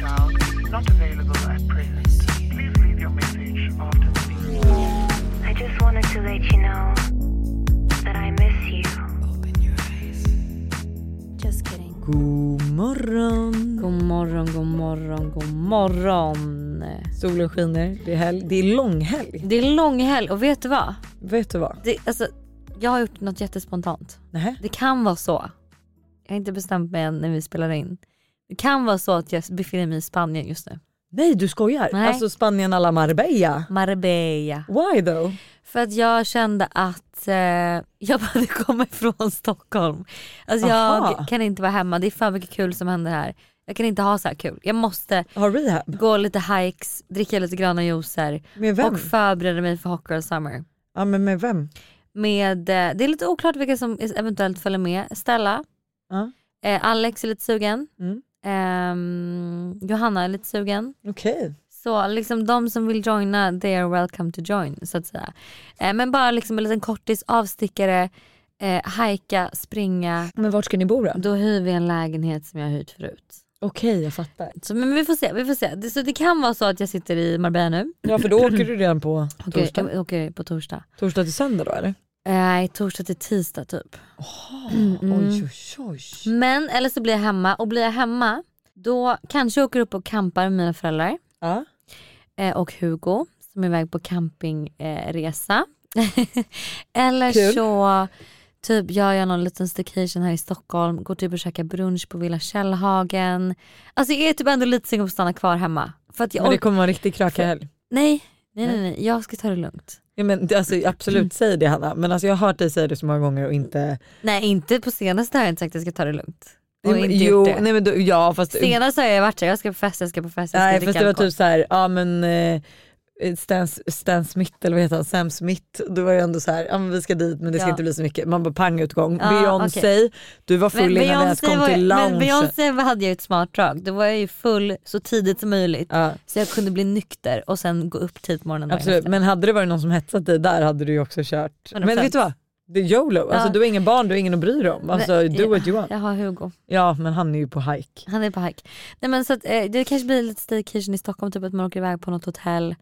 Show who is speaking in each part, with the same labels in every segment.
Speaker 1: is not available at present. Please leave your message after the beep.
Speaker 2: I just wanted to let you know that I miss you. Just kidding.
Speaker 3: God morgon!
Speaker 4: God morgon, god morgon, god morgon.
Speaker 3: Solen skiner, det är, helg. Det är långhelg.
Speaker 4: Det är långhelg och vet du vad?
Speaker 3: Vet du vad?
Speaker 4: Det, alltså, jag har gjort något jättespontant.
Speaker 3: Nej.
Speaker 4: Det kan vara så. Jag har inte bestämt mig än när vi spelar in. Det kan vara så att jag befinner mig i Spanien just nu.
Speaker 3: Nej du skojar?
Speaker 4: Nej.
Speaker 3: Alltså Spanien alla Marbella.
Speaker 4: Marbella.
Speaker 3: Why though?
Speaker 4: För att jag kände att eh, jag behövde komma ifrån Stockholm. Alltså
Speaker 3: Aha.
Speaker 4: jag kan inte vara hemma, det är för mycket kul som händer här. Jag kan inte ha så här kul. Jag måste
Speaker 3: Har rehab?
Speaker 4: gå lite hikes, dricka lite gröna juicer
Speaker 3: Med vem?
Speaker 4: och förbereda mig för Hot Girl Summer.
Speaker 3: Ja men med vem?
Speaker 4: Med, eh, det är lite oklart vilka som eventuellt följer med. Stella,
Speaker 3: Ja.
Speaker 4: eh, Alex är lite sugen,
Speaker 3: Mm.
Speaker 4: ehm, Johanna är lite sugen.
Speaker 3: Okej.
Speaker 4: Så liksom de som vill joina, they are welcome to join så att säga. Eh, men bara liksom en liten kortis, avstickare, eh, hajka, springa.
Speaker 3: Men vart ska ni bo då?
Speaker 4: Då hyr vi en lägenhet som jag har hyrt förut.
Speaker 3: Okej jag fattar.
Speaker 4: Så, men vi får se, vi får se. Det, så det kan vara så att jag sitter i Marbella nu.
Speaker 3: Ja för då åker du redan på
Speaker 4: Okej,
Speaker 3: torsdag.
Speaker 4: jag åker på torsdag.
Speaker 3: Torsdag till söndag då eller?
Speaker 4: Eh, Nej, torsdag till tisdag typ. Mm.
Speaker 3: Oj oj oj.
Speaker 4: Men eller så blir jag hemma och blir jag hemma då kanske jag åker upp och campar med mina föräldrar
Speaker 3: Ja.
Speaker 4: eh, och Hugo som är iväg på campingresa. Eh, resa. eller
Speaker 3: Kul.
Speaker 4: så typ gör jag någon liten staycation här i Stockholm, går typ och käkar brunch på Villa Källhagen. Alltså jag är typ ändå lite sugen på att stanna kvar hemma. För att jag
Speaker 3: Men det
Speaker 4: ork-
Speaker 3: kommer vara en riktig krökarhelg.
Speaker 4: nej, nej, nej, nej, jag ska ta det lugnt.
Speaker 3: Ja, men det- alltså, absolut säg det Hanna, men alltså, jag har hört dig säga det så många gånger och inte...
Speaker 4: Nej inte på senaste har jag inte sagt att jag ska ta det lugnt. Och inte
Speaker 3: jo,
Speaker 4: gjort det.
Speaker 3: nej, men då, ja fast
Speaker 4: Senast har jag varit såhär, jag ska på fest, jag ska på fest, jag ska
Speaker 3: Nej
Speaker 4: dricka
Speaker 3: fast det var
Speaker 4: alkohol.
Speaker 3: typ såhär, ja men eh, Stan, Stan Smith eller vad heter han, Sam Smith, då var det ändå så här, ja men vi ska dit men det ska
Speaker 4: Ja.
Speaker 3: inte bli så mycket. Man bara pangutgång.
Speaker 4: Ja,
Speaker 3: Beyoncé, du var full innan vi ens kom
Speaker 4: var,
Speaker 3: till
Speaker 4: men
Speaker 3: loungen.
Speaker 4: Beyoncé hade ju ett smart drag. Då var jag ju full så tidigt som möjligt
Speaker 3: Ja,
Speaker 4: så jag kunde bli nykter och sen gå upp tidigt morgonen dagen
Speaker 3: absolut,
Speaker 4: efter.
Speaker 3: men hade det varit någon som hetsat dig där hade du ju också kört. Men
Speaker 4: 100%.
Speaker 3: vet du vad? Det är YOLO, alltså,
Speaker 4: Ja.
Speaker 3: du har ingen barn, du har ingen att bry dig om. Alltså,
Speaker 4: Nej,
Speaker 3: do what you want.
Speaker 4: Jag har Hugo,
Speaker 3: Ja men han är ju på hike.
Speaker 4: han är på hike. Nej, men så att, eh, det kanske blir lite staycation i Stockholm, typ att man åker iväg på något hotell.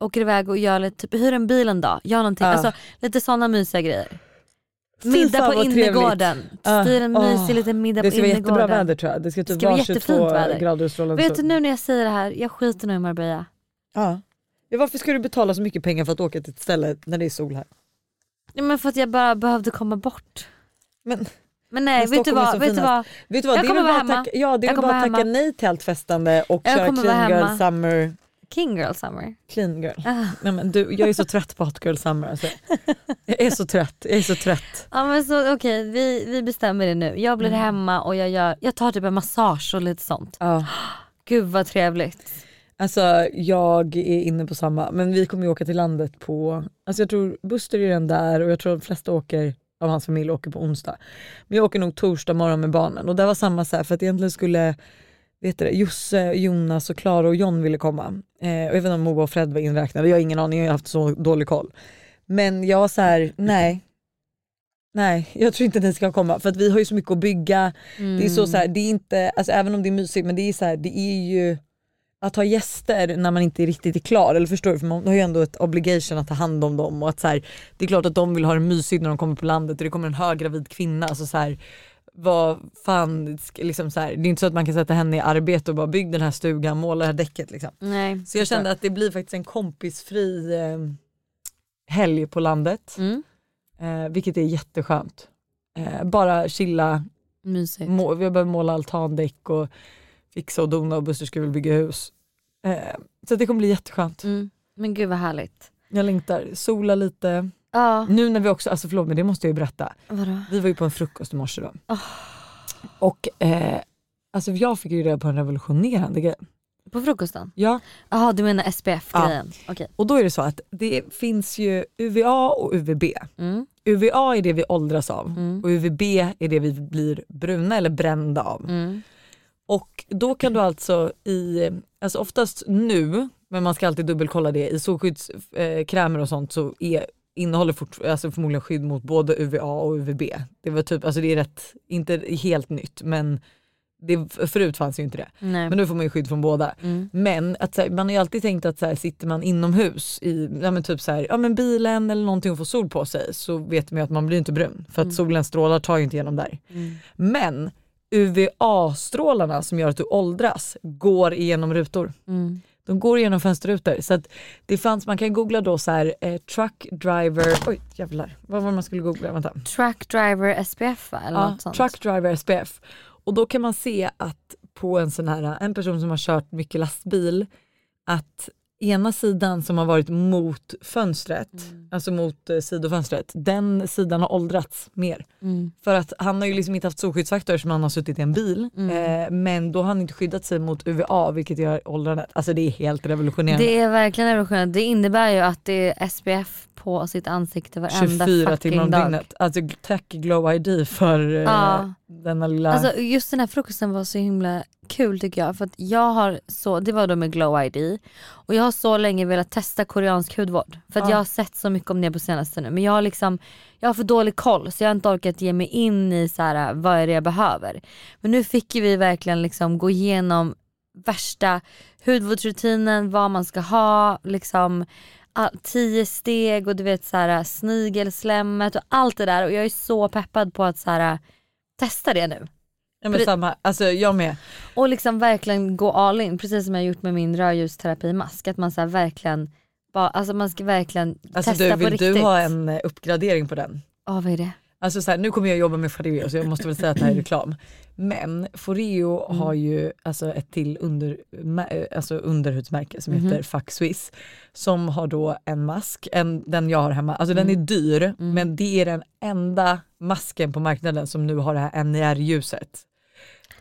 Speaker 4: Åker iväg och gör lite, typ, hyr en bil en dag, gör någonting.
Speaker 3: Ja.
Speaker 4: Alltså, lite sådana mysiga grejer.
Speaker 3: Ah. Fy fan,
Speaker 4: Middag på
Speaker 3: vad trevligt.
Speaker 4: innergården,
Speaker 3: Ja.
Speaker 4: styr en
Speaker 3: Åh,
Speaker 4: mysig liten middag
Speaker 3: Det
Speaker 4: på
Speaker 3: ska vara jättebra
Speaker 4: innergården.
Speaker 3: väder tror jag. Det ska typ
Speaker 4: ska vara
Speaker 3: vara
Speaker 4: jättefint
Speaker 3: 22
Speaker 4: väder.
Speaker 3: grader och strålande
Speaker 4: Vet du
Speaker 3: sol.
Speaker 4: nu när jag säger det här, jag skiter nog i Marbella.
Speaker 3: Ja. Ja, varför ska du betala så mycket pengar för att åka till ett ställe när det är sol här?
Speaker 4: Ja, men för att jag bara behövde komma bort.
Speaker 3: Men
Speaker 4: Men nej,
Speaker 3: Men
Speaker 4: vet du
Speaker 3: Stockholm är
Speaker 4: vad?
Speaker 3: så
Speaker 4: Vet du
Speaker 3: finast.
Speaker 4: vad?
Speaker 3: Vet du vad,
Speaker 4: Jag
Speaker 3: det är
Speaker 4: kommer
Speaker 3: väl bara
Speaker 4: vara
Speaker 3: att
Speaker 4: hemma.
Speaker 3: tacka, ja, det är
Speaker 4: Jag
Speaker 3: väl bara att
Speaker 4: kommer
Speaker 3: tacka
Speaker 4: vara
Speaker 3: nej till allt festande och
Speaker 4: Jag
Speaker 3: köra
Speaker 4: kommer vara
Speaker 3: clean girl
Speaker 4: hemma.
Speaker 3: summer.
Speaker 4: King girl summer.
Speaker 3: Clean girl.
Speaker 4: Ah.
Speaker 3: Nej, men du, jag är så trött på hot girl summer. Alltså. Jag är så trött. Jag är så trött.
Speaker 4: Ja men så okej, vi, vi bestämmer det nu. Jag
Speaker 3: Mm.
Speaker 4: blir hemma och jag, gör, jag tar typ en massage och lite sånt.
Speaker 3: Ja.
Speaker 4: Gud vad trevligt.
Speaker 3: Alltså, jag är inne på samma. Men vi kommer ju åka till landet på... Alltså jag tror Buster är redan där och jag tror de flesta åker av hans familj åker på onsdag. Men jag åker nog torsdag morgon med barnen och det var samma så här för att egentligen skulle vet du det, Josse, Jonas och Klara och John ville komma. Eh, och även om Moa och Fred var inräknade, jag har ingen aning, jag har haft så dålig koll. Men jag var så här, nej. Nej, jag tror inte ni ska komma för att vi har ju så mycket att bygga. Det är så, så här, det är inte, alltså även om det är mysigt men det är så här, det är ju att ha gäster när man inte riktigt är klar, eller förstår du? För man har ju ändå ett obligation att ta hand om dem och att så här, det är klart att de vill ha det mysigt när de kommer på landet och det kommer en höggravid kvinna. Alltså så här, vad fan, sk- liksom så här, det är inte så att man kan sätta henne i arbete och bara bygg den här stugan, måla det här däcket liksom.
Speaker 4: Nej.
Speaker 3: Så jag kände att det blir faktiskt en kompisfri eh, helg på landet,
Speaker 4: Mm.
Speaker 3: eh, vilket är jätteskönt. Eh, bara chilla,
Speaker 4: Mysigt.
Speaker 3: Må, vi behöver måla altandäck och fixa och dona och Buster skulle väl bygga hus. Eh, så det kommer bli jätteskönt.
Speaker 4: Mm. Men gud vad härligt.
Speaker 3: Jag längtar. Sola lite.
Speaker 4: Ja,
Speaker 3: Nu när vi också, alltså förlåt men det måste jag ju berätta.
Speaker 4: vadå?
Speaker 3: Vi var ju på en frukost i morse då. Och eh, alltså jag fick ju reda på en revolutionerande grej.
Speaker 4: På frukosten?
Speaker 3: Ja,
Speaker 4: Jaha du menar SPF-grejen? Okej.
Speaker 3: och då är det så att det finns ju UVA och UVB.
Speaker 4: Mm.
Speaker 3: UVA är det vi åldras av
Speaker 4: Mm.
Speaker 3: och UVB är det vi blir bruna eller brända av.
Speaker 4: Mm.
Speaker 3: Och då kan du alltså i, alltså oftast nu, men man ska alltid dubbelkolla det, i solskyddskrämer och sånt så är, innehåller fort, alltså förmodligen skydd mot både UVA och UVB. Det var typ, alltså det är rätt, inte helt nytt men det, förut fanns ju inte det.
Speaker 4: Nej.
Speaker 3: Men nu får man ju skydd från båda.
Speaker 4: Mm.
Speaker 3: Men att, så här, man har ju alltid tänkt att så här, sitter man inomhus i ja, men typ så här, ja, men bilen eller någonting och får sol på sig så vet man ju att man blir inte brun för att solens strålar tar ju inte igenom där. Men UVA-strålarna som gör att du åldras går igenom rutor.
Speaker 4: Mm.
Speaker 3: De går igenom fönsterrutor. Så att det fanns, man kan googla då så här, eh, truck driver, oj jävlar, vad var det man skulle googla? Vänta.
Speaker 4: Truck driver SPF va? eller
Speaker 3: Ja,
Speaker 4: något sånt.
Speaker 3: truck driver SPF. Och då kan man se att på en sån här, en person som har kört mycket lastbil, att ena sidan som har varit mot fönstret,
Speaker 4: Mm.
Speaker 3: alltså mot eh, sidofönstret, den sidan har åldrats mer.
Speaker 4: Mm.
Speaker 3: För att han har ju liksom inte haft solskyddsfaktor som han har suttit i en bil,
Speaker 4: Mm.
Speaker 3: eh, men då har han inte skyddat sig mot UVA vilket gör åldrandet. Alltså det är helt revolutionerande.
Speaker 4: Det är verkligen revolutionerande. Det innebär ju att det är SPF på sitt ansikte
Speaker 3: 24
Speaker 4: varenda
Speaker 3: timmar
Speaker 4: fucking
Speaker 3: om
Speaker 4: dag.
Speaker 3: dygnet. Alltså tack Glow ID för eh,
Speaker 4: Ja.
Speaker 3: denna lilla...
Speaker 4: Alltså just den här frukosten var så himla kul tycker jag. För att jag har så, det var då med glow ID. Och jag har så länge velat testa koreansk hudvård. För att
Speaker 3: Ja.
Speaker 4: jag har sett så mycket om det på senaste nu. Men jag har liksom, jag har för dålig koll så jag har inte orkat ge mig in i så här, äh, vad är det jag behöver. Men nu fick ju vi verkligen liksom gå igenom värsta hudvårdsrutinen, vad man ska ha, liksom all- tio steg och du vet så här, äh, snigelslemmet och allt det där. Och jag är så peppad på att så här, äh, testa det nu.
Speaker 3: ja, men
Speaker 4: det-
Speaker 3: samma, alltså jag med.
Speaker 4: Och liksom verkligen gå all in, precis som jag gjort med min rödljusterapimask. Att man så här verkligen, bara, alltså man ska verkligen
Speaker 3: Alltså
Speaker 4: testa
Speaker 3: du,
Speaker 4: på
Speaker 3: vill
Speaker 4: riktigt.
Speaker 3: du ha en eh, uppgradering på den?
Speaker 4: Ja vad är det?
Speaker 3: Alltså så här, nu kommer jag jobba med Foreo så jag måste väl säga att det här är reklam. Men Foreo
Speaker 4: Mm.
Speaker 3: har ju alltså ett till under, mä- eh, alltså underhudsmärke som
Speaker 4: Mhm.
Speaker 3: heter Fuck Swiss. Som har då en mask, en, den jag har hemma. Alltså
Speaker 4: Mm.
Speaker 3: den är dyr men det är den enda masken på marknaden som nu har det här NIR-ljuset.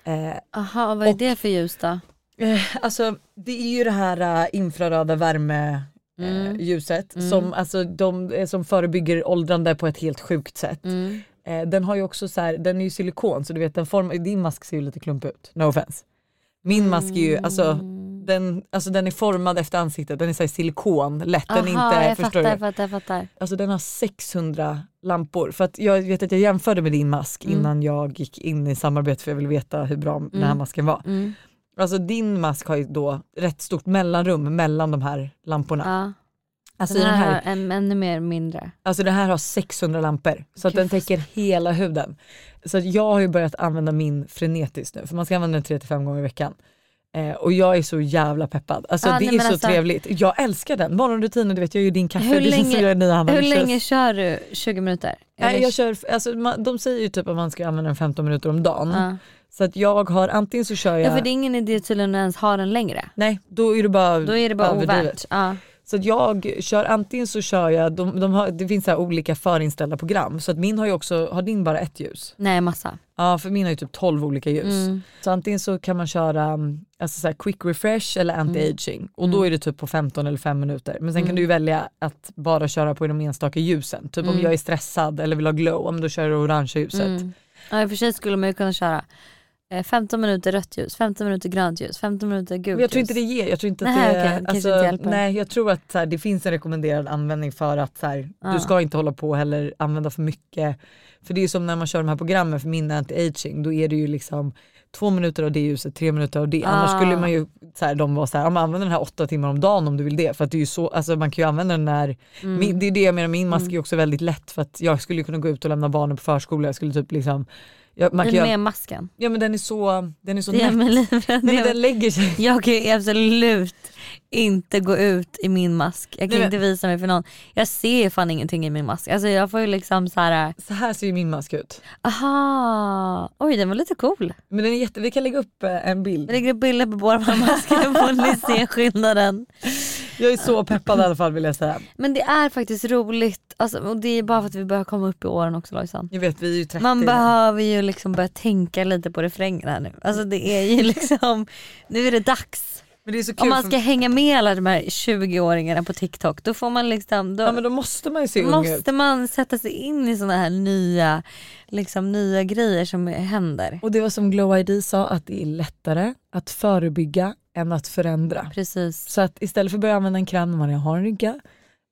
Speaker 3: Eh,
Speaker 4: Aha, och vad är
Speaker 3: Och-
Speaker 4: det för ljus då?
Speaker 3: Eh, Alltså det är ju det här eh, infraröda värmeljuset eh,
Speaker 4: Mm.
Speaker 3: ljuset som, alltså, de, eh, som förebygger åldrande på ett helt sjukt sätt.
Speaker 4: Mm.
Speaker 3: Eh, den har ju också så här, den är ju silikon så du vet den form, din mask ser ju lite klump ut, no offense. Min mask är ju, alltså,
Speaker 4: Mm.
Speaker 3: den, alltså den är formad efter ansiktet, den är så här silikon, lätt, den är
Speaker 4: Aha,
Speaker 3: inte,
Speaker 4: jag
Speaker 3: förstår
Speaker 4: fattar,
Speaker 3: du?
Speaker 4: jag fattar, jag fattar.
Speaker 3: Alltså den har 600 lampor. För att jag vet att jag jämförde med din mask innan jag gick in i samarbete för jag ville veta hur bra den här masken var.
Speaker 4: Mm. Mm.
Speaker 3: Alltså din mask har ju då rätt stort mellanrum mellan de här lamporna.
Speaker 4: Ja.
Speaker 3: alltså,
Speaker 4: Den
Speaker 3: i den
Speaker 4: här
Speaker 3: här,
Speaker 4: har en, ännu mer mindre.
Speaker 3: alltså den här har 600 lampor så att
Speaker 4: Gud,
Speaker 3: den täcker hela huden. Så att jag har ju börjat använda min frenetiskt nu för man ska använda den 3-5 gånger i veckan. Eh, och jag är så jävla peppad. Alltså
Speaker 4: Ja,
Speaker 3: det
Speaker 4: nej,
Speaker 3: är
Speaker 4: men
Speaker 3: så
Speaker 4: alltså-
Speaker 3: trevligt. Jag älskar den. Morgonrutinen, du vet jag gör ju din kaffe,
Speaker 4: Hur
Speaker 3: det känns
Speaker 4: länge-
Speaker 3: som jag är nyhandlad.
Speaker 4: Hur länge kör du? 20 minuter?
Speaker 3: Nej,
Speaker 4: Eller-
Speaker 3: jag kör, alltså, man, de säger ju typ att man ska använda den 15 minuter om dagen.
Speaker 4: ja.
Speaker 3: Så att jag har antingen så kör jag,
Speaker 4: ja för det är ingen idé tydligen att ens ha den längre.
Speaker 3: nej då är det bara
Speaker 4: Då är det bara
Speaker 3: överdrivet.
Speaker 4: ovärt. Ja.
Speaker 3: Så att jag kör antingen så kör jag, de, de har, det finns så här olika förinställda program så att min har ju också, har din bara ett ljus?
Speaker 4: Nej massa.
Speaker 3: Ja för min har ju typ 12 olika ljus.
Speaker 4: Mm.
Speaker 3: Så antingen så kan man köra mm, alltså så här quick refresh eller anti-aging och då är det typ på 15 eller 5 minuter. Men sen kan du ju välja att bara köra på de enstaka ljusen. Typ om jag är stressad eller vill ha glow, ja, men då kör jag det orangea ljuset.
Speaker 4: Ja, i och för sig skulle man ju kunna köra eh, 15 minuter rött ljus, 15 minuter grönt ljus, 15 minuter gult
Speaker 3: Men jag tror
Speaker 4: ljus.
Speaker 3: inte det ger, jag tror inte
Speaker 4: Nej,
Speaker 3: att det, alltså,
Speaker 4: okej, kanske inte hjälper.
Speaker 3: nej jag tror att så här, det finns en rekommenderad användning för att så här,
Speaker 4: Ja.
Speaker 3: du ska inte hålla på heller använda för mycket. För det är ju som när man kör de här programmen för min anti-aging, då är det ju liksom två minuter av det ljuset, tre minuter av det. Annars
Speaker 4: Ah.
Speaker 3: skulle man ju, så här, de vara så här, ja, men använd den här åtta timmar om dagen om du vill det. För att det är ju så, alltså man kan ju använda den när,
Speaker 4: Mm.
Speaker 3: min, det är det jag menar, min mask är ju också väldigt lätt för att jag skulle ju kunna gå ut och lämna barnen på förskola, jag skulle typ liksom, jag, man
Speaker 4: Den
Speaker 3: kan ju,
Speaker 4: med masken.
Speaker 3: ja men den är så, den är så
Speaker 4: Det är
Speaker 3: nätt.
Speaker 4: med livrädd.
Speaker 3: Nej men den lägger sig
Speaker 4: Jag kan ju absolut inte gå ut i min mask. Jag kan
Speaker 3: Nej, men-
Speaker 4: inte visa mig för någon. Jag ser ju fan ingenting i min mask. Alltså jag får ju liksom så här.
Speaker 3: Så här ser ju min mask ut.
Speaker 4: aha, oj den var lite cool.
Speaker 3: Men den är jätte, vi kan lägga upp eh, en bild.
Speaker 4: Jag lägger upp bilder på båda våra masker får ni se skillnaden.
Speaker 3: Jag är så peppad i alla fall vill jag säga.
Speaker 4: Men det är faktiskt roligt, alltså, och det är bara för att vi börjar komma upp i åren också Lojsan.
Speaker 3: Jag vet vi är ju 30.
Speaker 4: Man behöver ju liksom börja tänka lite på refrängen här nu. Alltså det är ju liksom, nu är det dags.
Speaker 3: men det är så kul.
Speaker 4: Om man
Speaker 3: för-
Speaker 4: ska hänga med alla de här 20-åringarna på TikTok då får man liksom, då
Speaker 3: Ja men då måste man ju se ung ut.
Speaker 4: måste man sätta sig in i såna här nya, liksom nya grejer som händer.
Speaker 3: Och det var som Glow ID sa att det är lättare att förebygga än att förändra.
Speaker 4: Precis.
Speaker 3: Så att istället för att börja använda en kräm när man redan har en rygga,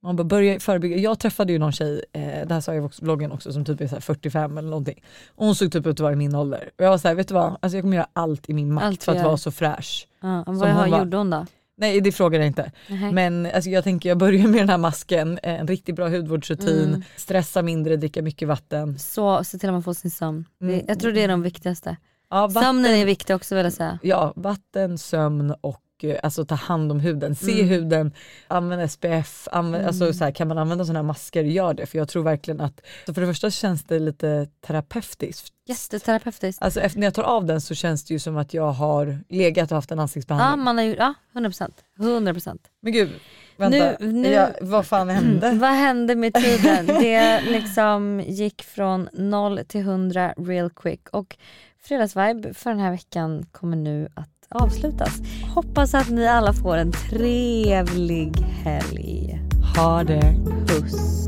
Speaker 3: Man bara börja förebygga. Jag träffade ju någon tjej, eh, det här sa jag i vox- vloggen också, som typ är så här 45 eller någonting. Och Hon såg typ ut att vara i min ålder. Och jag var såhär, vet du vad? Alltså jag kommer göra allt i min makt
Speaker 4: Allt
Speaker 3: för
Speaker 4: du
Speaker 3: att
Speaker 4: gör.
Speaker 3: vara så fräsch.
Speaker 4: Ja, vad
Speaker 3: Som
Speaker 4: har,
Speaker 3: hon var.
Speaker 4: gjorde hon då?
Speaker 3: Nej det frågar jag inte.
Speaker 4: Nähä.
Speaker 3: Men alltså, jag tänker jag börjar med den här masken, eh, en riktigt bra hudvårdsrutin,
Speaker 4: Mm.
Speaker 3: stressa mindre, dricka mycket vatten.
Speaker 4: Så se till att man får sin sömn. Det,
Speaker 3: Mm.
Speaker 4: jag tror det är de viktigaste.
Speaker 3: Ja, vatten,
Speaker 4: Sömnen är viktig också vill jag säga.
Speaker 3: ja, vatten sömn och eh, alltså, ta hand om huden. Se
Speaker 4: Mm.
Speaker 3: huden, använd SPF, använd, alltså, så här, kan man använda sådana här masker, gör det. För jag tror verkligen att, så för det första känns det lite terapeutiskt.
Speaker 4: Jätteterapeutiskt.
Speaker 3: Alltså efter, när jag tar av den så känns det ju som att jag har legat och haft en
Speaker 4: Ja,
Speaker 3: ansiktsbehandling.
Speaker 4: man har ju, ja 100%. 100%.
Speaker 3: Men gud, vänta.
Speaker 4: Nu- nu-
Speaker 3: Jag, vad fan hände?
Speaker 4: Mm, Vad hände med tiden? Det liksom gick från 0 till 100 real quick och Fredagsvibe för den här veckan kommer nu att avslutas. Hoppas att ni alla får en trevlig helg.
Speaker 3: Ha det.
Speaker 4: Puss!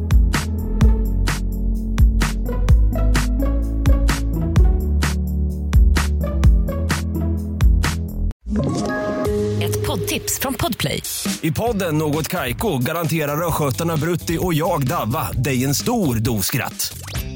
Speaker 5: Ett poddtips från Podplay.
Speaker 6: I podden Något Kaiko garanterar östgötarna Brutti och jag, Davva, dig en stor dos skratt.